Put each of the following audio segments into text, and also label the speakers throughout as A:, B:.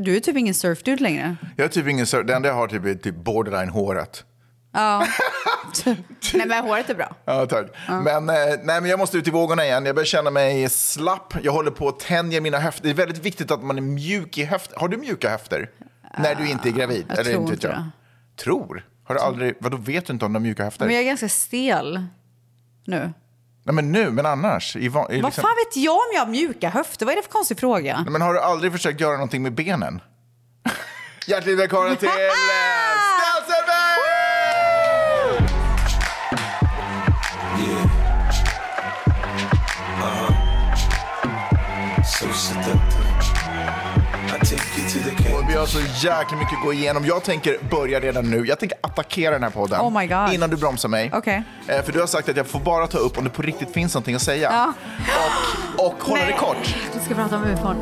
A: Du är typ ingen surfdude längre.
B: Jag är typ ingen surf. Det enda jag har typ är typ borderline-håret.
A: Nej, men håret är bra.
B: Ja, tack. Men, eh, nej, men jag måste ut i vågorna igen. Jag börjar känna mig slapp. Jag håller på att tänja mina höfter. Det är väldigt viktigt att man är mjuk i höfter. Har du mjuka höfter? när du inte är gravid?
A: jag
B: Eller
A: tror
B: inte
A: inte
B: jag.
A: det.
B: Tror? Har du aldrig... Vadå, vet du inte om de har mjuka höfter?
A: Men jag är ganska stel
B: Liksom-
A: nu.
B: Nej, men nu, men annars? I, van- i
A: Vad
B: liksom...
A: fan vet jag om jag har mjuka höfter? Vad är det för konstig fråga?
B: Nej, men har du aldrig försökt göra någonting med benen? Hjärtligt välkomna till eh, Stälsenberg!
C: Uh-huh.
D: So seductive. I take you to the
B: Och
D: cave.
B: Vi har så jäkla mycket att gå igenom. Jag tänker börja redan nu. Jag tänker attackera den här podden.
A: Oh my God.
B: Innan du bromsar mig.
A: Okej.
B: Eh, För du har sagt att jag får bara ta upp om det på riktigt finns någonting att säga.
A: Ja.
B: Och, och hålla det kort.
A: Vi ska prata om ufon.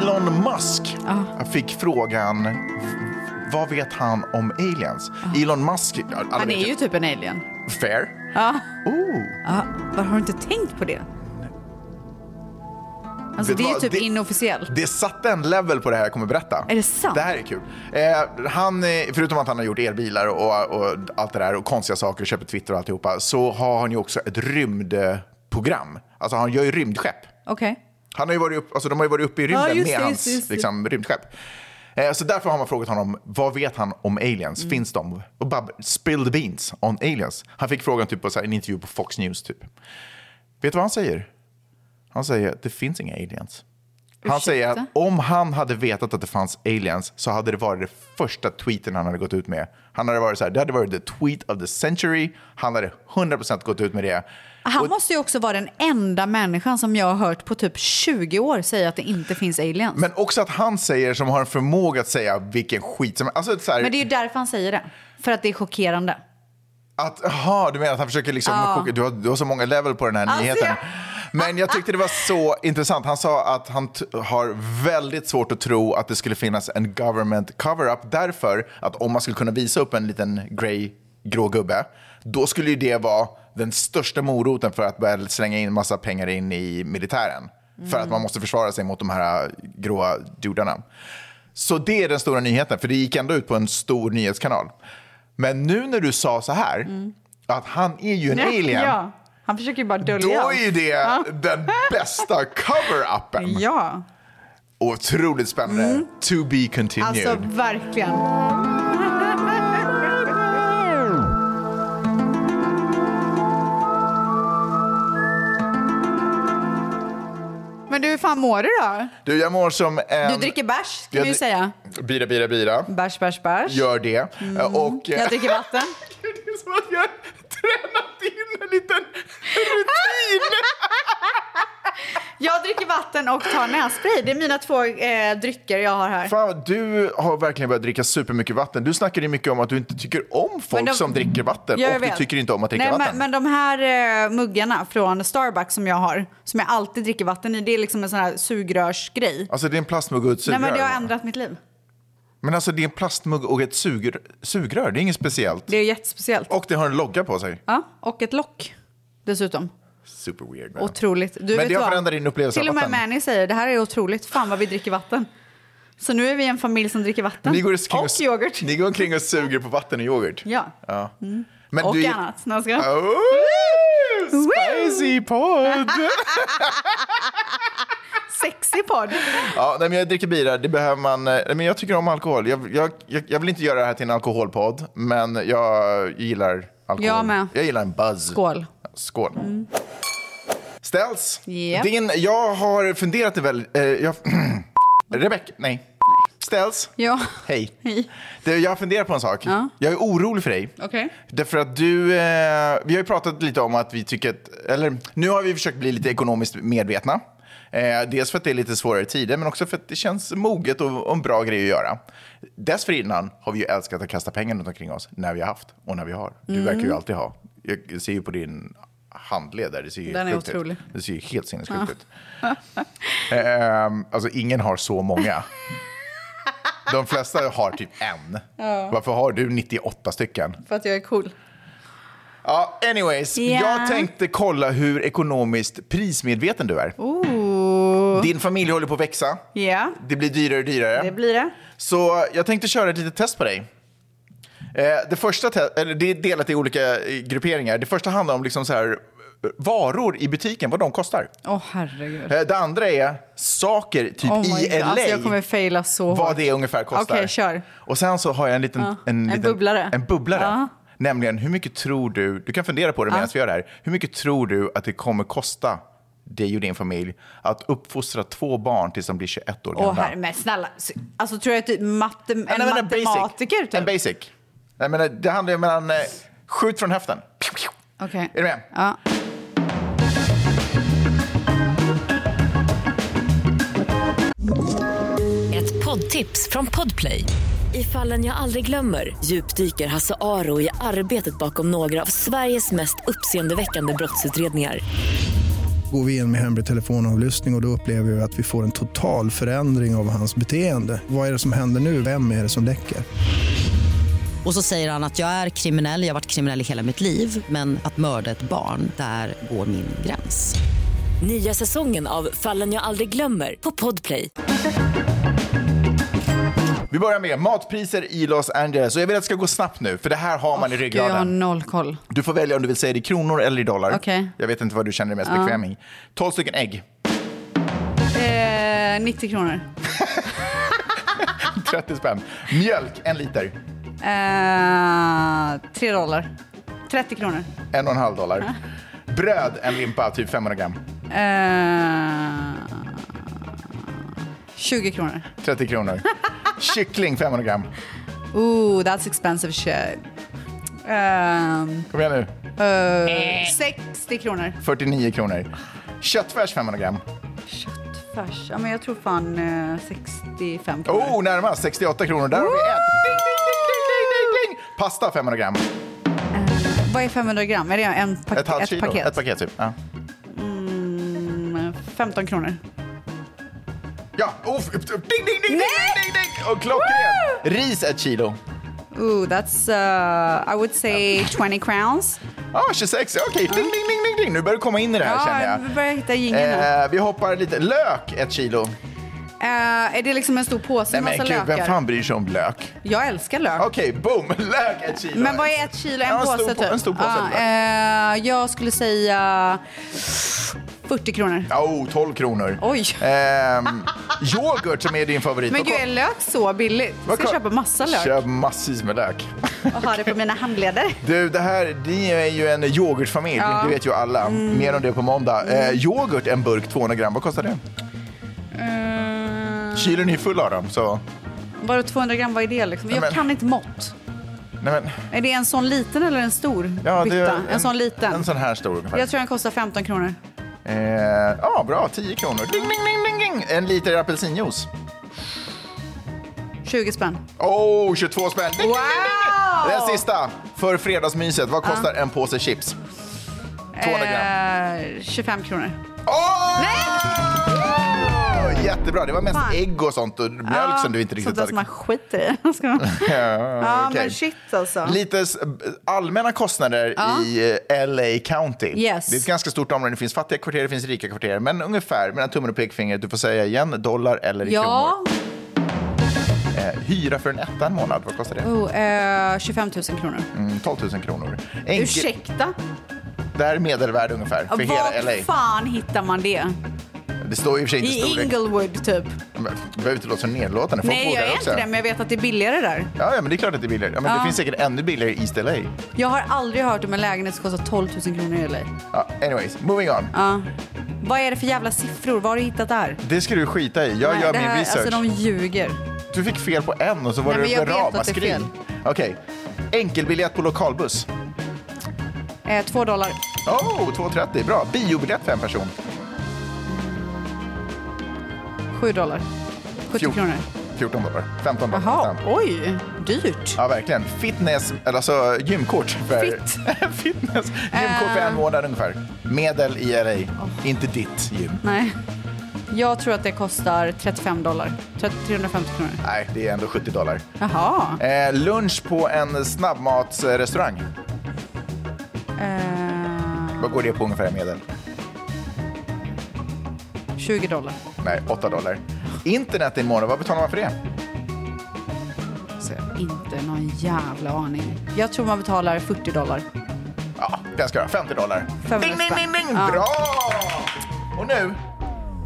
B: Elon Musk Jag fick frågan, v- vad vet han om aliens? Elon Musk, ja, alla
A: Han
B: vet
A: är ju typ en alien.
B: Fair.
A: Ja.
B: Oh.
A: ja. Vad har du inte tänkt på det? Alltså
B: Vet
A: det
B: du
A: är ju
B: vad?
A: typ
B: Det-
A: inofficiellt.
B: Det satte en level på det här jag kommer berätta.
A: Är det sant?
B: Det här är kul. Eh, han, eh, förutom att han har gjort elbilar och, och allt det där och konstiga saker, köper Twitter och alltihopa, så har han ju också ett rymdprogram. Alltså han gör ju rymdskepp.
A: Okej.
B: Han har ju varit upp, alltså, de har ju varit uppe i rymden
A: Ja, just
B: med
A: det,
B: hans
A: just det, just det.
B: Liksom, rymdskepp. Eh, så därför har man frågat honom, vad vet han om aliens?
A: Mm.
B: Finns de? Och bara spill the beans on aliens. Han fick frågan typ på så här, en intervju på Fox News. Typ. Vet du vad han säger? Han säger att det finns inga aliens. Han säger att om han hade vetat att det fanns aliens så hade det varit det första tweeten han hade gått ut med. Han hade varit så här, det hade varit the tweet of the century. Han hade 100% gått ut med det.
A: Han måste ju också vara den enda människan som jag har hört på typ 20 år säga att det inte finns aliens. Men,
B: Men också att han säger som har en förmåga att säga vilken skit som alltså, så här,
A: det är ju därför han säger det. För att det är chockerande.
B: att, aha, du menar att han försöker liksom, du, har, du har så många level på den här
A: Alltså,
B: nyheten.
A: jag-
B: Men jag tyckte det var så intressant. Han sa att han t- har väldigt svårt att tro att det skulle finnas en government cover-up därför att om man skulle kunna visa upp en liten grey, grå gubbe, då skulle ju det vara den största moroten för att börja slänga in massa pengar in i militären. För att man måste försvara sig mot de här äh, gråa jordarna. Så det är den stora nyheten, för det gick ändå ut på en stor nyhetskanal. Men nu när du sa så här, att han är ju en alien,
A: Han försöker ju bara
B: då
A: dölja.
B: är ju det den bästa cover-uppen.
A: Ja, Mm.
B: Otroligt spännande. To be continued.
A: alltså verkligen. Men du, hur fan mår du då?
B: Du, jag mår som en...
A: Du dricker bärs, ska
B: Jag
A: vi ju
B: dri-
A: säga.
B: Bira, bira, bira.
A: Bärs, bärs, bärs.
B: Gör det. Eh, Och...
A: Mm. Jag dricker vatten.
B: Gud, det är som att jag har tränat in en liten rutin.
A: Jag dricker vatten och tar nässpray. Det är mina två eh, drycker jag har här.
B: Fan, du har verkligen börjat dricka supermycket vatten. Du snackade ju mycket om att du inte tycker om folk
A: Men de-
B: som dricker vatten
A: Ja, jag
B: och du
A: vet.
B: tycker inte om att dricka
A: Nej,
B: vatten.
A: Men, men de här eh, muggarna från Starbucks som jag har, som jag alltid dricker vatten i, det är liksom en sån här sugrörsgrej.
B: Alltså det är en plastmugg och ett
A: Nej,
B: sugrör.
A: men det har ändrat mitt liv.
B: Men alltså det är en plastmugg och ett sugrör, sugrör. det är inget speciellt.
A: Det är jättespeciellt.
B: Och det har en logga på sig.
A: Ja, och ett lock dessutom.
B: Super weird. man.
A: Otroligt. Du,
B: Men
A: vet
B: det har
A: vad?
B: förändrat din upplevelse av
A: Till och med
B: vatten.
A: Mani säger det här är otroligt. Fan vad vi dricker vatten. Så nu är vi en familj som dricker vatten.
B: Ni går omkring
A: och yoghurt.
B: Ni går omkring och suger på vatten och yoghurt.
A: Ja. Mm.
B: Ja. Men
A: Och
B: du...
A: annat. Nej, jag skojar.
B: Oh, spicy podd!
A: Sexig podd.
B: Ja, nej, men jag dricker bira, det behöver man. eh, Nej, men jag tycker om alkohol. Jag, jag, jag, jag vill inte göra det här till en alkoholpodd, men jag gillar alkohol.
A: Jag med.
B: Jag gillar en buzz.
A: Skål.
B: Skål. Ställs.
A: Japp.
B: Din, jag har funderat väldigt... Eh, jag, Rebecka, nej. Ställs.
A: Ja.
B: Hej.
A: Hej.
B: Du, jag har funderat på en sak.
A: Ja.
B: Jag är orolig för dig.
A: Okej.
B: Därför att du, eh, vi har ju pratat lite om att vi tycker att, eller nu har vi försökt bli lite ekonomiskt medvetna. Eh, dels för att det är lite svårare tider, men också för att det känns moget och, och en bra grej att göra. Dessförinnan har vi ju älskat att kasta pengar runt omkring oss när vi har haft och när vi har. Du verkar
A: Mm.
B: ju alltid ha. Jag ser ju på din handled där, det ser ju
A: Den är
B: sjukt ut.
A: otrolig.
B: Det ser ju helt sinnessjukt ut. Ehm, alltså ingen har så många. De flesta har typ en. Varför har du 98 stycken?
A: För att jag är cool.
B: Ja, anyways,
A: Ja.
B: jag tänkte kolla hur ekonomiskt prismedveten du är.
A: Ooh.
B: Din familj håller på att växa.
A: Ja,
B: Det blir dyrare och dyrare.
A: det blir det.
B: Så jag tänkte köra ett litet test på dig. Eh, Det, första te- eller det är delat i olika eh, grupperingar. Det första handlar om liksom så här, eh, varor i butiken, vad de kostar.
A: Åh herregud.
B: Eh, Det andra är saker typ
A: Oh
B: i
A: my God.
B: LA,
A: Alltså, jag kommer faila så
B: vad
A: hårt.
B: det ungefär kostar.
A: Okej, kör.
B: Och sen så har jag en liten,
A: Ja,
B: en
A: en
B: liten
A: bubblare.
B: En bubblare.
A: Ja.
B: Nämligen, hur mycket tror du, du kan fundera på det medan vi gör det här, hur mycket tror du att det kommer kosta dig och din familj att uppfostra två barn tills de blir 21 år
A: Åh
B: gamla?
A: herre, men snälla. Alltså tror jag att typ matte, en
B: Nej, men
A: matematiker
B: En
A: typ?
B: basic. Jag menar, det handlar ju om en eh, skjut från höften. Pew, pew.
A: Okej.
B: Är du med?
A: Ja.
E: Ett poddtips från Podplay. I fallen jag aldrig glömmer djupdyker Hasse Aro i arbetet bakom några av Sveriges mest uppseendeväckande brottsutredningar.
F: Går vi in med hemlig telefonavlyssning och, och då upplever vi att vi får en total förändring av hans beteende. Vad är det som händer nu? Vem är det som läcker?
G: Och så säger han att jag är kriminell, jag har varit kriminell i hela mitt liv men att mörda ett barn, där går min gräns.
E: Nya säsongen av Fallen jag aldrig glömmer på Podplay.
B: Vi börjar med matpriser i Los Angeles. Och jag vill att det ska gå snabbt nu, för det här har man i
A: Gud, jag har
B: ryggraden.
A: noll koll.
B: Du får välja om du vill säga det i kronor eller i dollar.
A: Okej.
B: Jag vet inte vad du känner dig mest bekväm i. 12 stycken ägg,
A: Eh, 90 kronor.
B: 30 spänn. Mjölk, en liter,
A: Eh, 3 dollar. 30 kronor.
B: en och en halv dollar. Bröd, en limpa, typ 500 gram.
A: Eh, 20 kronor.
B: 30 kronor. Kyckling, 500 gram.
A: Ooh, that's expensive shit. Ehm,
B: Kom igen nu.
A: eh, 60 kronor.
B: 49 kronor. Köttfärs, 500 gram.
A: Köttfärs. Ja, men jag tror fan eh, 65 kronor.
B: Oh, närmast. 68 kronor. Där har vi ett. Ding, ding, ding, ding, ding, ding, ding. Pasta 500 gram.
A: Vad är 500 gram? Är det en pak-
B: Oh. Ett halvt kilo.
A: paket?
B: Ett paket typ. Ja.
A: Mm, 15 kronor.
B: Ja, oh, f- ding, ding, ding, ding, ding, ding. Och klockrent. Ris ett kilo.
A: Ooh, that's uh, I would say 20 crowns.
B: Ah, Ja, 26. Okej, ding, ding, ding, ding, ding. Nu börjar du komma in i det här känner
A: Ja, vi
B: jag.
A: börjar hitta jingeln här.
B: Eh, vi hoppar lite. Lök ett kilo.
A: Eh, är det liksom en stor påse
B: Nej
A: med
B: men
A: massa
B: gud,
A: lökar?
B: vem fan bryr sig om lök?
A: Jag älskar lök.
B: Okej, boom. Lök ett kilo.
A: Men vad är ett kilo? En
B: Ja,
A: påse
B: stor, på-
A: typ?
B: En stor påse.
A: Ja,
B: lök.
A: eh, jag skulle säga 40 kronor.
B: oh, 12 kronor.
A: Oj.
B: Ehm, yoghurt som är din favorit.
A: Men
B: Vad
A: gud,
B: ko-
A: är lök så billigt?
B: vad
A: Ska jag
B: ko-
A: köpa massa lök
B: Köp massvis med lök.
A: och ha det på mina handleder?
B: Du, det här, ni är ju en yoghurtfamilj, det vet ju alla.
A: Mm.
B: Mer om det på måndag. Eh, yoghurt, en burk, 200 gram, vad kostar det?
A: Uh,
B: Kylen är full av dem, så...
A: bara 200 gram, vad är det liksom? Jag
B: Nej, men-
A: kan inte mått.
B: Nej, men,
A: Är det en sån liten eller en stor
B: ja, det
A: bytta?
B: är
A: en, sån liten?
B: En sån här stor ungefär.
A: Jag tror den kostar 15 kronor.
B: Eh, ja, bra, 10 kronor. Ding, ding, ding, ding, ding. En liter apelsinjuice.
A: 20 spänn.
B: Oh, 22 spänn. Ding, ding, ding,
A: Wow!
B: ding. Den sista, för fredagsmyset, vad kostar en påse chips? 200 gram.
A: Eh, 25 kronor.
B: Åh!
A: Nej!
B: Jättebra, det var mest
A: Fan.
B: ägg och sånt och mjölk
A: Ja,
B: som du inte
A: Sånt
B: riktigt
A: där som man
B: hade.
A: skiter i. Ska man- Ja,
B: okej.
A: men shit alltså.
B: Lite s- allmänna kostnader i eh, LA County.
A: Yes.
B: Det är ett ganska stort område. Det finns fattiga kvarter, det finns rika kvarter. Men ungefär mellan tummen och pekfingret. Du får säga igen, dollar eller i
A: Ja,
B: kronor. Eh, hyra för en etta en månad, vad kostar det?
A: oh, eh, 25 000 kronor.
B: Mm, 12 000 kronor. Enkel,
A: Ursäkta?
B: Det här är medelvärde ungefär för hela LA.
A: Var fan hittar man det?
B: Det står i och för sig inte
A: I
B: storlek.
A: Inglewood typ?
B: Men, Du behöver inte låta så nedlåtande. Folk
A: Nej,
B: bor
A: jag
B: där
A: är
B: också.
A: inte det, men jag vet att det är billigare där.
B: Ja, ja, men det är klart att det är billigare. Ja, men
A: Ja.
B: Det finns säkert ännu billigare i East LA.
A: Jag har aldrig hört om en lägenhet som kostar 12 000 kronor i LA.
B: Ja, anyways, moving on.
A: Ja. Vad är det för jävla siffror? Vad har du hittat där?
B: Det ska du skita i. Jag
A: Nej,
B: gör
A: det
B: min
A: här,
B: research.
A: Alltså de ljuger.
B: Du fick fel på en och så var
A: Nej, men
B: det
A: jag vet att det är
B: ramaskri.
A: fel.
B: Okej. Enkelbiljett på lokalbuss.
A: Eh, två dollar.
B: Oh, 2,30. Bra. Biobiljett för en person.
A: Sju dollar. 70
B: Fjort-
A: kronor.
B: 14 dollar. 15 dollar.
A: Jaha,
B: nästan.
A: oj. Dyrt.
B: Ja, verkligen. Fitness, eller alltså gymkort. För,
A: Fit. Eh.
B: fitness. Gymkort för en månad ungefär. Medel i LA.
A: Oh.
B: Inte ditt gym.
A: Nej. Jag tror att det kostar 35 dollar. 350 kronor.
B: Nej, det är ändå 70 dollar.
A: Jaha.
B: Eh, lunch på en snabbmatsrestaurang.
A: Eh,
B: Vad går det på ungefär i medel?
A: 20 dollar.
B: Nej, 8 dollar. Internet i en månad, vad betalar man för det?
A: Så jag har inte någon jävla aning. Jag tror man betalar 40 dollar.
B: Ja, den ska jag ha. 50 dollar.
A: 500
B: Ding, ding, ding, ding.
A: spänn. Ja.
B: Bra! Och nu,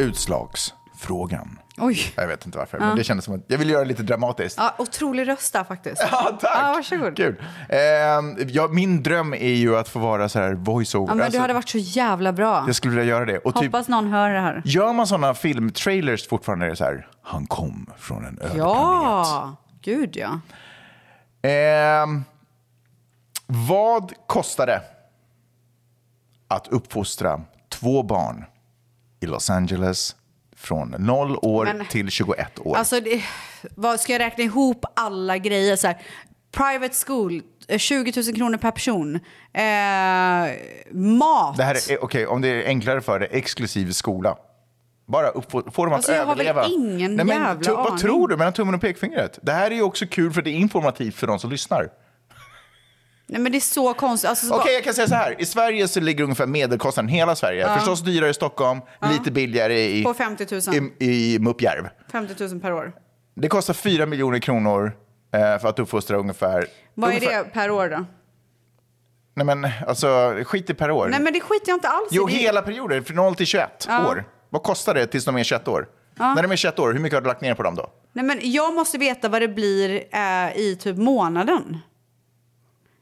B: utslagsfrågan.
A: Oj.
B: Jag vet inte varför, men det kändes som att jag ville göra det lite dramatiskt.
A: Ja, otrolig röst där faktiskt.
B: Ja, tack!
A: Ja, varsågod.
B: Kul. Ehm, ja, min dröm är ju att få vara så här voiceover.
A: Ja, men
B: Alltså,
A: du hade varit så jävla bra.
B: Jag skulle vilja göra det. Och typ,
A: Hoppas någon hör det här.
B: gör man sådana filmtrailers fortfarande är det så här, han kom från en öde planet.
A: Ja, gud ja.
B: Ehm, vad kostar det att uppfostra två barn i Los Angeles från 0 år
A: Men-
B: till 21 år?
A: Alltså, det, vad, ska jag räkna ihop alla grejer? Så här, private school, eh, 20 000 kronor per person. Eh, mat.
B: det här är, okej, om det är enklare för dig, exklusiv skola. Bara uppfo- få dem att
A: Alltså, jag har väl
B: överleva.
A: ingen
B: Nej, men,
A: jävla
B: Vad
A: aning.
B: tror du mellan tummen och pekfingret? Det här är ju också kul för det är informativt för de som lyssnar.
A: Nej, men det är så konstigt. Alltså, så
B: Okej,
A: bara-
B: jag kan säga så här. I Sverige så ligger ungefär medelkostnaden hela Sverige. Förstås dyrare i Stockholm, lite billigare i,
A: På 50 000.
B: i, i Muppjärv.
A: 50 000 per år.
B: Det kostar 4 miljoner kronor eh, för att uppfostra ungefär...
A: Vad är
B: ungefär,
A: det per år då?
B: Nej men alltså, skit i per år.
A: Nej men det skiter jag inte alls
B: jo,
A: i. Det-
B: hela perioden, från 0 till 21 år. Vad kostar det tills de är 21 år? När de är 21 år, hur mycket har du lagt ner på dem då?
A: Nej, men jag måste veta vad det blir eh, i typ månaden.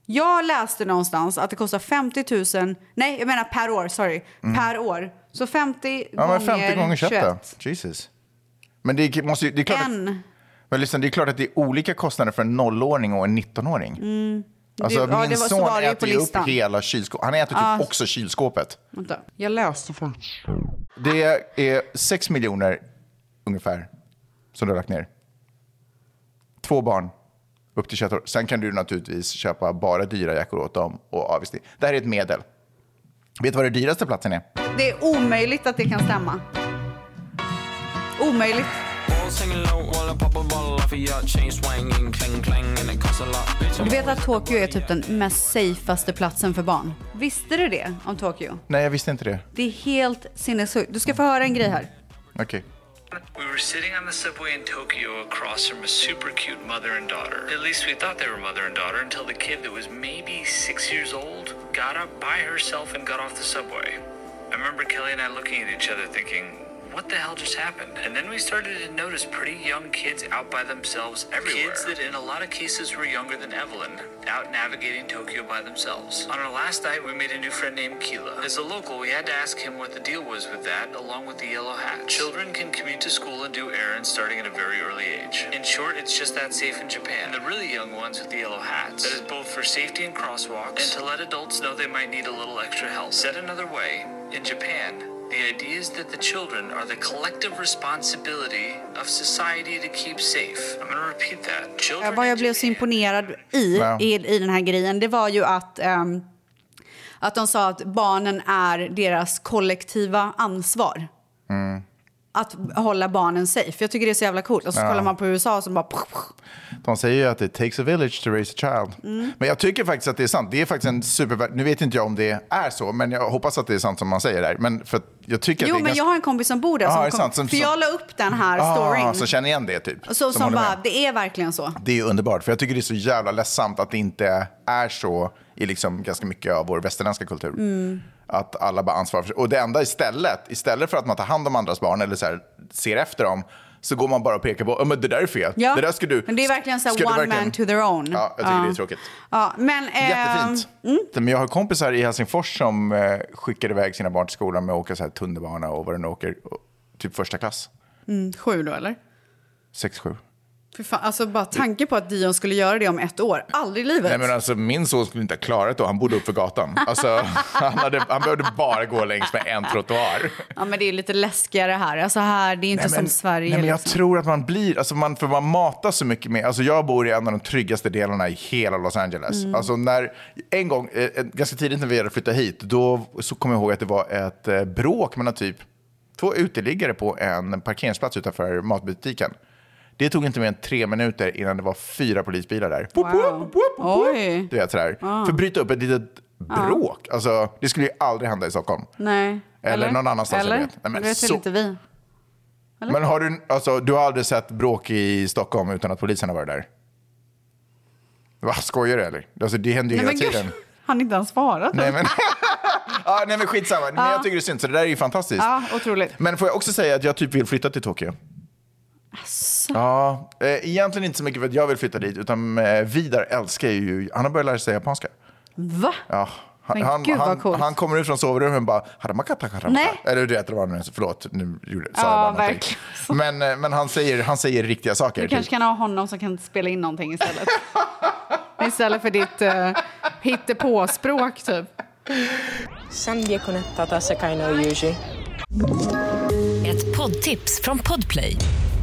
A: Jag läste någonstans att det kostar 50 000, nej jag menar per år, sorry, per år. Så 50
B: Mm. Ja,
A: gånger,
B: men 50 gånger 21.
A: 21.
B: Jesus. Men det är, måste, ju- det är klart att,
A: En.
B: men lyssna, det är klart att det är olika kostnader för en nollåring och en 19-åring. Alltså,
A: Mm. Det- ja,
B: min
A: det var- så var det
B: son
A: ju på
B: äter ju upp
A: listan.
B: hela kylskåpet. Han äter typ också kylskåpet.
A: Vänta, jag läste faktiskt.
B: Det är 6 miljoner ungefär som du har lagt ner. Två barn upp till 21 år. Sen kan du naturligtvis köpa bara dyra jackor åt dem och avvisning. Det här är ett medel. Vet du vad den dyraste platsen är?
A: Det är omöjligt att det kan stämma. Omöjligt.
D: All singing low while I pop a bottle off of your chain swinging, clang clang, and it costs a lot. Bitch,
A: Du
D: I'm
A: vet att Tokyo är typ den mest safeaste platsen för barn. Visste du det om Tokyo?
B: Nej, jag visste inte det.
A: Det är helt sinnessjukt. Du ska få höra en grej här.
B: Okej.
H: We were sitting on the subway in Tokyo across from a super cute mother and daughter. At least we thought they were mother and daughter until the kid that was maybe six years old got up by herself and got off the subway. I remember Kelly and I looking at each other thinking, what the hell just happened? And then we started to notice pretty young kids out by themselves everywhere. Kids that in a lot of cases were younger than Evelyn, out navigating Tokyo by themselves. On our last night, we made a new friend named Keela. As a local, we had to ask him what the deal was with that, along with the yellow hat. Children can commute to school and do errands starting at a very early age. In short, it's just that safe in Japan. The really young ones with the yellow hats. That is both for safety and crosswalks, and to let adults know they might need a little extra help. Said another way, in Japan, the idea is that the children are the collective responsibility of society to keep safe. I'm going to repeat that. Children
A: Eh, Vad
H: in
A: jag blev så imponerad i,
B: Ja.
A: i, i den här grejen, det var ju att, ehm, att de sa att barnen är deras kollektiva ansvar.
B: Mm.
A: Att hålla barnen safe. Jag tycker det är så jävla coolt. Och så kollar man på USA som bara...
B: De säger ju att it takes a village to raise a child.
A: Mm.
B: Men jag tycker faktiskt att det är sant. Det är faktiskt en super... Nu vet inte jag om det är så, men jag hoppas att det är sant som man säger där. Men för att jag tycker
A: Jo,
B: att det är
A: men jag har en kompis som bor där.
B: Ja,
A: som
B: är det
A: kom,
B: sant? Som-
A: för jag
B: som-
A: la upp den här
B: Ah,
A: storyn.
B: som känner igen det typ.
A: Och så, som
B: håller med.
A: bara, det är verkligen så.
B: Det är underbart, för jag tycker det är så jävla ledsamt att det inte är så i liksom ganska mycket av vår västerländska kultur.
A: Mm.
B: Att alla bara ansvarar för sig. Och det enda istället, istället för att man tar hand om andras barn eller så här, ser efter dem, så går man bara och pekar på, "Ja, men det där är fel.
A: Ja.
B: Det där ska du...
A: Men det är verkligen så här
B: ska du
A: one man to their own.
B: Ja, jag tycker det är tråkigt.
A: Ja, men, ehm,
B: Jättefint. Men jag har kompisar i Helsingfors som eh, skickar iväg sina barn till skolan med att åka så här tunnelbana och vad det nu åker. Och, typ första klass,
A: ehm, Sju då, eller?
B: sex sju.
A: Fy fan, alltså bara tanken på att Dion skulle göra det om ett år. Aldrig i livet.
B: Nej, men alltså, min son skulle inte ha klarat det han bodde upp för gatan. Alltså, han, hade, han behövde bara gå längs med en trottoar.
A: Ja, men det är lite läskigare här. Alltså här, det är inte
B: Nej,
A: som Sverige.
B: nej, men jag
A: liksom.
B: tror att man blir, alltså man, för man matas så mycket med, alltså jag bor i en av de tryggaste delarna i hela Los Angeles.
A: Mm.
B: Alltså när, en gång, eh, eh, ganska tidigt när vi hade flyttat hit, då så kommer jag ihåg att det var ett eh, bråk mellan typ två uteliggare på en parkeringsplats utanför matbutiken. Det tog inte mer än tre minuter innan det var fyra polisbilar där. Wow.
A: Oj. Ah.
B: Du vet sådär. För att bryta upp ett litet Bråk? Alltså, det skulle ju aldrig hända i Stockholm.
A: Nej.
B: Eller någon annanstans,
A: Eller?
B: jag vet. Nej, men
A: det vet väl
B: så-
A: inte vi.
B: Men har du, alltså, du har aldrig sett bråk i Stockholm utan att polisen har varit där? Va, skojar du eller? Alltså, det händer ju
A: Nej, men
B: hela tiden.
A: gud, han inte ens svarat.
B: Nej men, ja, nej, men skitsamma. Men jag tycker det är synd, så det där är ju fantastiskt.
A: Ja, otroligt.
B: Men får jag också säga att jag typ vill flytta till Tokyo? Ja, eh, egentligen inte så mycket för att jag vill flytta dit, utan eh, Vidar älskar ju, han har börjat lära sig japanska.
A: Va?
B: Ja. Han,
A: Men
B: han,
A: gud, vad
B: han,
A: coolt.
B: han kommer ut från sovrummet och bara haramakata haramata.
A: Nej.
B: Eller du vet vad det var nu, förlåt. Nu gjorde, sa
A: Ja,
B: jag bara någonting.
A: verkligen.
B: Men, eh, men han, säger, han säger riktiga saker.
A: Du
B: typ.
A: kanske kan ha honom som kan spela in någonting istället. istället för ditt uh, hittepåspråk, typ.
E: Ett poddtips från Podplay.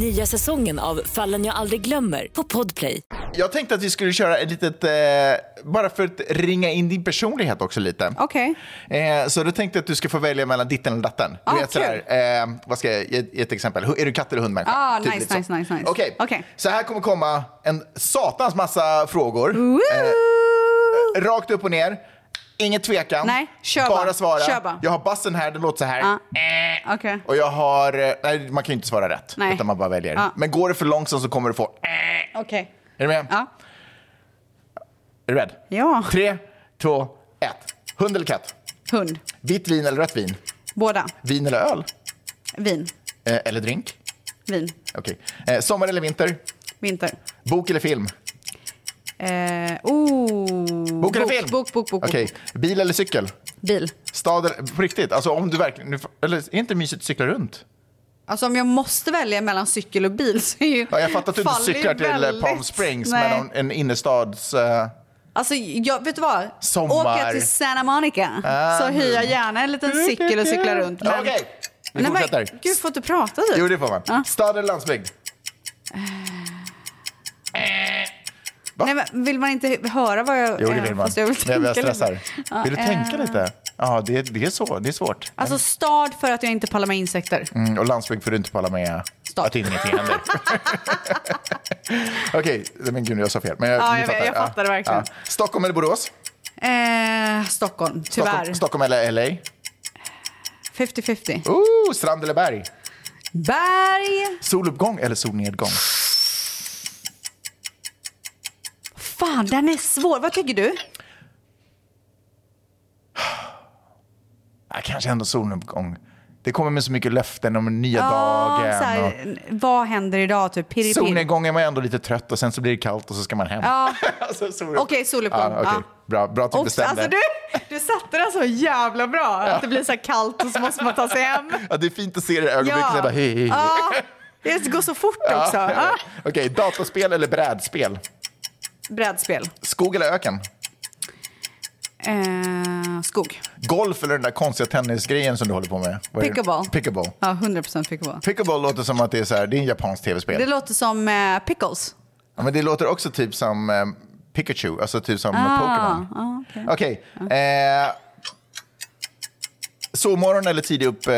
E: Nya säsongen av Fallen jag aldrig glömmer på Podplay.
B: Jag tänkte att vi skulle köra ett litet, eh, bara för att ringa in din personlighet också lite.
A: Okej.
B: Eh, så då tänkte jag att du ska få välja mellan ditten eller datten. Du
A: Ah,
B: vet sådär, eh, vad ska jag ge, ge ett exempel? Hu- Är du katt eller hundmänniska?
A: Ah,
B: Typ
A: nice,
B: lite så.
A: nice, nice, nice.
B: Okej,
A: Okej.
B: så här kommer komma en satans massa frågor. Eh, rakt upp och ner. Inget tvekan.
A: Nej, kör
B: bara.
A: bara.
B: svara.
A: Kör bara.
B: Jag har bassen här, den låter så här. Eh.
A: Ja. Okej.
B: Och jag har... eh, Nej, man kan ju inte svara rätt.
A: Nej. Ah.
B: Utan man bara väljer.
A: Ja.
B: Men går det för långsamt så kommer du få... eh.
A: Okej.
B: Är du med?
A: Ja.
B: Är du rädd?
A: Ja.
B: Tre, två, ett. Hund eller katt?
A: Hund.
B: Vitt vin eller rött vin?
A: Båda.
B: Vin eller öl?
A: Vin.
B: Eh, eller drink?
A: Vin.
B: Okej. Eh, sommar eller vinter?
A: Vinter.
B: Bok eller film?
A: Eh, oh.
B: Bok eller film?
A: Bok, bok, bok. bok.
B: Okej. Bil eller cykel?
A: Bil.
B: Stad eller... På riktigt, alltså om du verkligen... nu- Eller är inte mysigt att cykla runt?
A: Alltså om jag måste välja mellan cykel och bil så är ju...
B: Ja, jag fattar att du inte
A: faller ju
B: cyklar till eh,
A: väldigt-
B: Palm Springs,
A: Nej.
B: men om en innerstads... eh,
A: Alltså, jag, vet du vad?
B: Sommar.
A: Åka till Santa Monica
B: Ah,
A: så
B: nu.
A: hyr jag gärna en liten cykel och cykla runt.
B: Ja,
A: men-
B: Okej, vi
A: Nej, men,
B: fortsätter.
A: gud, får inte prata typ?
B: Jo, det får man.
A: Ja.
B: Stad eller landsbygd?
A: Nej, men vill man inte höra vad jag...
B: Jo, det
A: eh,
B: vill man.
A: fast Jag vill
B: Men
A: tänka
B: jag stressar.
A: lite. Ja,
B: Vill du
A: eh,
B: tänka lite? Ja, det, det är så. Det är svårt.
A: Alltså stad för att jag inte pallar med insekter.
B: Mm, och landsbygd får du inte palla med
A: Start.
B: att ingenting händer. Okej, men gud jag sa fel. Men jag,
A: Ja,
B: ni
A: jag vet, jag fattar det verkligen.
B: Stockholm eller Borås?
A: Eh, Stockholm, tyvärr.
B: Stockholm, Stockholm eller LA?
A: 50-50.
B: Ooh, strand eller berg?
A: Berg!
B: Soluppgång eller solnedgång?
A: Fan, den är svår. Vad tycker du?
B: Ja, kanske ändå soluppgång. Det kommer med så mycket löften om den nya
A: så
B: dagen. Och...
A: här, vad händer idag? Typ pirri, pirri.
B: Solnedgång är man ändå lite trött och sen så blir det kallt och så ska man hem.
A: Ja.
B: alltså, sol...
A: Okej, soluppgång.
B: Ja, okej.
A: Ja.
B: Bra, bra att du
A: Ops,
B: bestämde.
A: alltså du, du satte den så jävla bra. Att det blir så här kallt och så måste man ta sig hem.
B: Ja, det är fint att se det i ögonblicket. så jag Bara, hej, hej, hej.
A: Ja. Det går så fort också. Ja.
B: Okej, dataspel eller brädspel?
A: Brädspel.
B: Skog eller öken?
A: Eh, skog.
B: Golf eller den där konstiga tennisgrejen som du håller på med? Vad är det?
A: Pickleball.
B: Pickleball.
A: Ja, 100 procent pickleball.
B: Pickleball låter som att det är, så här, det är en japansk tv-spel.
A: Det låter som eh, pickles.
B: Ja, men det låter också typ som eh, Pikachu, alltså typ som Pokémon.
A: ah, okej.
B: Okej. Eh, sovmorgon eller tidig, upp, eh,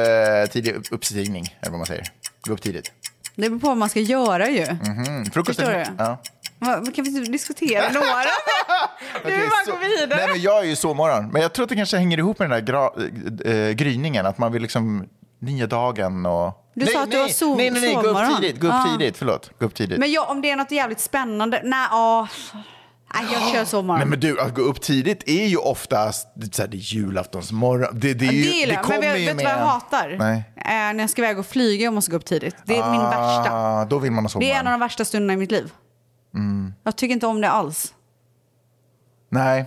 B: tidig upp, uppstigning, eller vad man säger. Gå upp tidigt.
A: Det beror på vad man ska göra ju.
B: Mm, frukost
A: Förstår
B: eller-
A: du?
B: Ja.
A: Vad- Kan vi inte diskutera några? Nu vill
B: Okej,
A: bara
B: så-
A: gå vidare.
B: Nej, men jag är ju sovmorgon. Men jag tror att det kanske hänger ihop med den där gra- eh, eh, gryningen, att man vill liksom nya dagen och...
A: Du
B: nej,
A: sa att du
B: nej,
A: var sov-
B: Nej, nej, nej, gå upp
A: sovmorgon.
B: tidigt, gå upp
A: Ah.
B: tidigt, förlåt. Gå upp tidigt.
A: Men ja, om det är något jävligt spännande. Nej, ja. Nej, jag kör sovmorgon.
B: Nej men du, att gå upp tidigt är ju oftast det, så här, det är julaftonsmorgon. Det, det, är ju,
A: det gillar jag. Men
B: kommer
A: vet,
B: ju
A: vet du vad jag
B: med-
A: hatar?
B: Nej.
A: Eh, när jag ska iväg och flyga och måste gå upp tidigt. Det är min värsta.
B: Ah, då vill man ha
A: Det är
B: sovmorgon.
A: en av de värsta stunderna i mitt liv.
B: Mm.
A: Jag tycker inte om det alls.
B: Nej.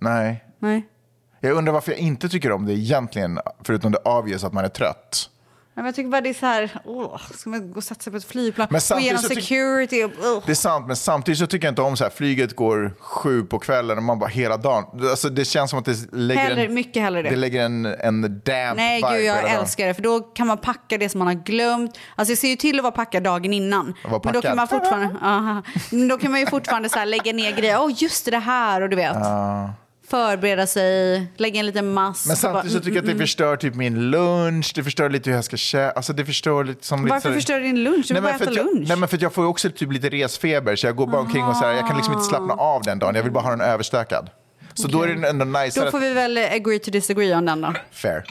B: Nej.
A: Nej.
B: Jag undrar varför jag inte tycker om det egentligen, förutom det obvious att man är trött.
A: men jag tycker bara det är så här, åh, ska man gå och sätta sig på ett flygplan?
B: Men
A: Gå
B: samtidigt
A: igenom
B: så tyck-
A: security och... åh.
B: Det är sant, men samtidigt så tycker jag inte om så här, flyget går sju på kvällen och man bara hela dagen. Alltså, det känns som att det lägger
A: Hellre-
B: en,
A: mycket hellre det.
B: det lägger en, en damp
A: Nej,
B: vibe
A: gud,
B: på hela
A: jag
B: dagen.
A: älskar det. För då kan man packa det som man har glömt. Alltså jag ser ju till att vara packad dagen innan.
B: vara
A: Men då kan
B: packad.
A: man fortfarande, aha, men då kan man ju fortfarande så här lägga ner grejer. Åh, just det här och du vet. Förbereda sig, lägga en liten mask.
B: Men
A: Alltså, Bara, mm,
B: samtidigt så tycker jag att det förstör typ min lunch, det förstör lite hur jag ska kä- Alltså det förstör lite som lite
A: Varför
B: så-
A: förstör du din lunch? Du vill bara
B: men för
A: äta
B: att jag,
A: lunch.
B: nej men för att jag får ju också typ lite resfeber så jag går bara omkring och så här, jag kan liksom inte slappna
A: Ah.
B: av den dagen, jag vill bara ha den överstökad. Så då är det ändå nice
A: mm, Då får vi Mm. väl agree to disagree om den då.
B: att... Fair.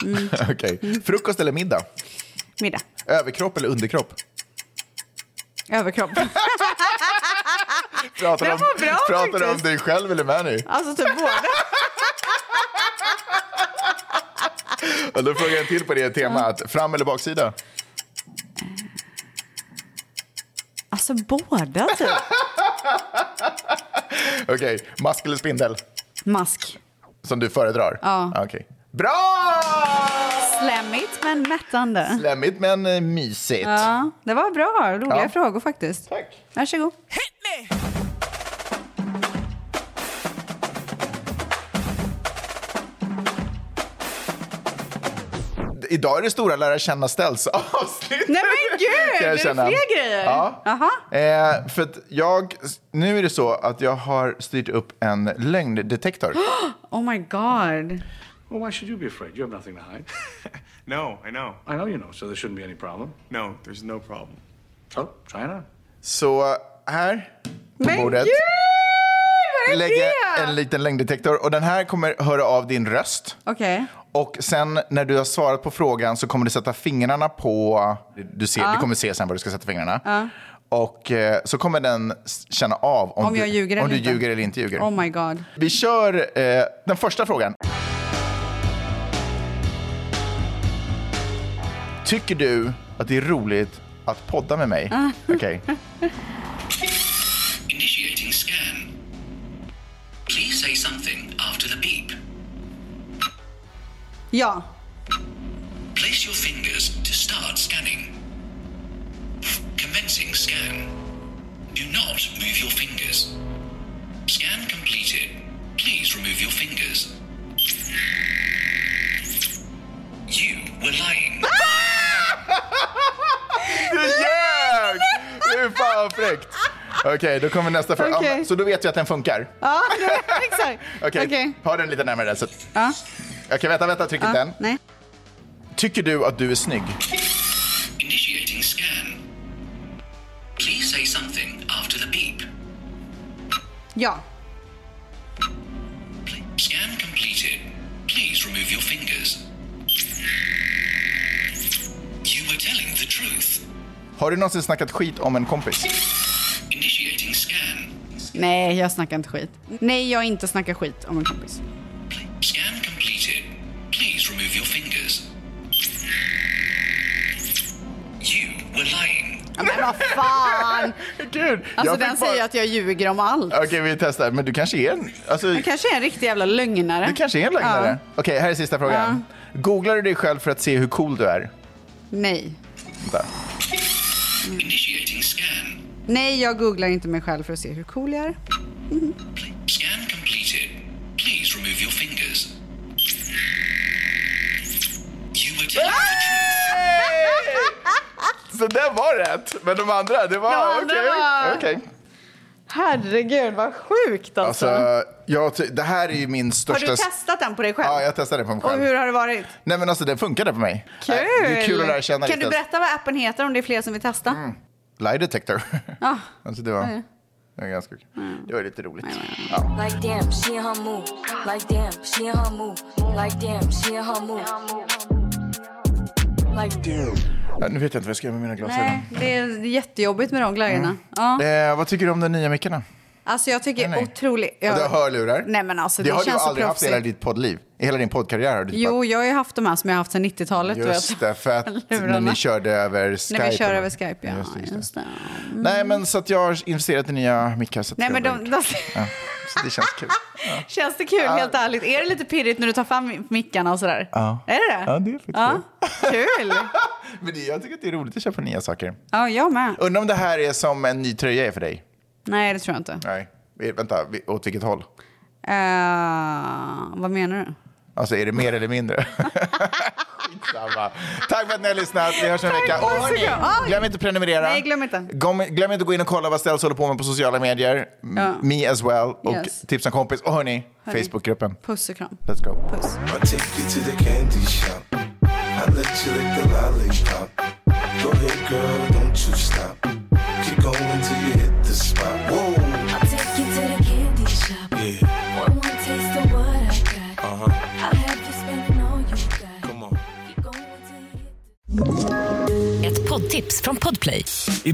B: Okej. Frukost eller middag?
A: Middag.
B: Överkropp eller underkropp?
A: Överkropp.
B: Pratar du om,
A: var bra
B: pratar du om
A: faktiskt.
B: dig själv eller Mani?
A: Alltså typ båda.
B: Och då frågar jag till på det temat, fram eller baksida?
A: Alltså båda typ.
B: Okej, mask eller spindel?
A: Mask.
B: Som du föredrar?
A: Ja.
B: Okej. Bra!
A: Slemmigt men mättande.
B: Lämmigt men eh, mysigt.
A: Ja, det var bra. Roliga
B: Ja.
A: frågor faktiskt.
B: Tack.
A: Varsågod.
B: Idag är det stora lära känna ställs avsnitt.
A: Nej men gud,
B: Kan
A: är
B: jag
A: det
B: känna.
A: fler grejer?
B: Ja.
A: Aha.
B: Eh, för att jag, nu är det så att jag har styrt upp en lögndetektor.
A: Oh my god.
I: Well, why should you be afraid? You have nothing to hide.
J: No, I know.
I: I know you know, so there shouldn't be Oh, any problem.
J: No, there's no problem.
I: So, try it on.
B: Så här på
A: Men
B: bordet
A: gud, vad är
B: lägger
A: det?
B: jag en liten lögndetektor och den här kommer höra av din röst.
A: Okej.
B: Och sen när du har svarat på frågan så kommer du sätta fingrarna på... Du, ser, du kommer se sen var du ska sätta fingrarna. Och eh, så kommer den s- känna av om,
A: Om jag
B: du,
A: ljuger
B: om
A: eller
B: du
A: inte.
B: ljuger eller inte ljuger.
A: Oh my god.
B: Vi kör eh, den första frågan. Tycker du att det är roligt att podda med mig?
A: Ah.
B: Okej.
H: Initiating scan. Please say something after the beep.
A: Ja.
H: Place your fingers to start scanning. Commencing scan. Do not move your fingers. Scan completed. Please remove your fingers. You were lying.
B: Du ljög! Det är fan vad fräckt. Okej, då kommer nästa fråga.
A: Okej.
B: Ja, så då vet vi att den funkar.
A: Ja, det- exakt.
B: Okej,
A: Okej.
B: ha den lite närmare där. Så...
A: Ja.
B: Okej, vänta, vänta, tryck inte
A: Ja,
B: den.
A: nej.
B: Tycker du att du är snygg?
H: Initiating scan. Please say something after the beep.
A: Ja.
H: Pl- Scan completed. Please remove your fingers. You were telling the truth.
B: Har du någonsin snackat skit om en kompis?
H: Initiating scan.
A: Nej, jag snackar inte skit. Nej, jag har inte snackat skit om en kompis.
H: Pl- Scan completed. Please remove your fingers. You were lying.
A: Ja, Men vad fan!
B: Gud!
A: Alltså
B: jag fick
A: den säger att jag ljuger om allt.
B: Okej, vi testar. Men du kanske är en... Alltså,
A: Jag kanske är en riktig jävla lögnare.
B: du kanske är en lögnare. Okej, här är sista frågan. Googlar du dig själv för att se hur cool du är?
A: Nej.
B: Vänta.
H: Initiating scan.
A: Nej, jag googlar inte mig själv för att se hur cool jag är.
H: Pl- Scan completed. Please remove your fingers. You were telling the
B: Ah!
H: truth.
B: Så den var rätt, men de andra, det var
A: De
B: okej.
A: andra var-
B: Okej.
A: Herregud, vad sjukt alltså.
B: Alltså, jag, ty- det här är ju min
A: har
B: största...
A: du testat den på dig själv?
B: Ja, jag testade på mig
A: Och
B: själv.
A: hur har det varit?
B: Nej men alltså den funkade för mig.
A: Kul!
B: Nej, Det är kul att lära känna
A: Kan du
B: lite. Mm,
A: berätta vad appen heter om det är fler som vill testa?
B: Lie detector.
A: Ah. Ja.
B: Alltså det var, det var ganska kul. Det var lite roligt. Ja.
K: Like damn, she in her move. Like damn, she in her move. Like damn, she in her move. Like damn.
B: Ja, nu vet jag inte vad jag ska göra med mina glasögon.
A: Nej, det är jättejobbigt med de glajjorna. Ja.
B: Eh, vad tycker du om de nya mickarna?
A: Alltså jag tycker
B: Nej, nej.
A: otroligt...
B: Ja. Du har hörlurar.
A: Nej men alltså
B: det
A: det,
B: har
A: känns
B: du
A: så
B: aldrig haft i hela
A: proffsigt.
B: ditt poddliv. I hela din poddkarriär. har Du typ
A: Jo, jag har ju haft de här som jag har haft sedan 90-talet.
B: bara,
A: du
B: just
A: vet.
B: det, för att när
A: Lurarna.
B: ni körde över Skype.
A: När vi kör
B: eller-
A: över Skype, ja.
B: Just det, just det.
A: Just det. Mm.
B: Nej men så att jag har investerat i nya mickar. Så att
A: Nej
B: jag
A: men
B: bara-
A: de, de,
B: Ja, så det känns kul. Ja.
A: känns det kul helt ärligt? Är det lite pirrigt när du tar fram mickarna och sådär?
B: Ja.
A: Är det det?
B: Ja, det är faktiskt
A: Ja. Kul!
B: Men det- jag tycker att det är roligt att köpa nya saker.
A: Ja, jag med.
B: Undrar om det här är som en ny tröja är för dig?
A: Nej, det tror jag inte.
B: Nej. Eh, Vänta, vi- åt vilket håll?
A: Eh, vad menar du?
B: Alltså är det mer eller mindre? Skitsamma. Tack för att ni har lyssnat. Vi hörs om en vecka. Och
A: puss och kram.
B: hörni, glöm inte att prenumerera.
A: Nej, glöm inte.
B: Glöm, glöm inte att gå in och kolla vad Ställs håller på med på sociala medier. M-
A: Ja.
B: Me as well. Och
A: Yes.
B: tipsa en kompis. Och hörni,
A: Hörni.
B: Facebookgruppen.
A: Puss och kram.
B: Let's go.
A: Puss.
C: I'll take you to the candy shop. I let you lick the lollipop. Go ahead, girl, don't you stop. Keep going till you hit the spot. Whoa,
E: I'll take you to the candy shop.
C: Yeah.
E: One, one taste of what I got.
C: uh huh.
E: I'll have you spending all you got.
C: Come on.
E: Keep going till you.
L: Ett poddtips från Podplay.
F: I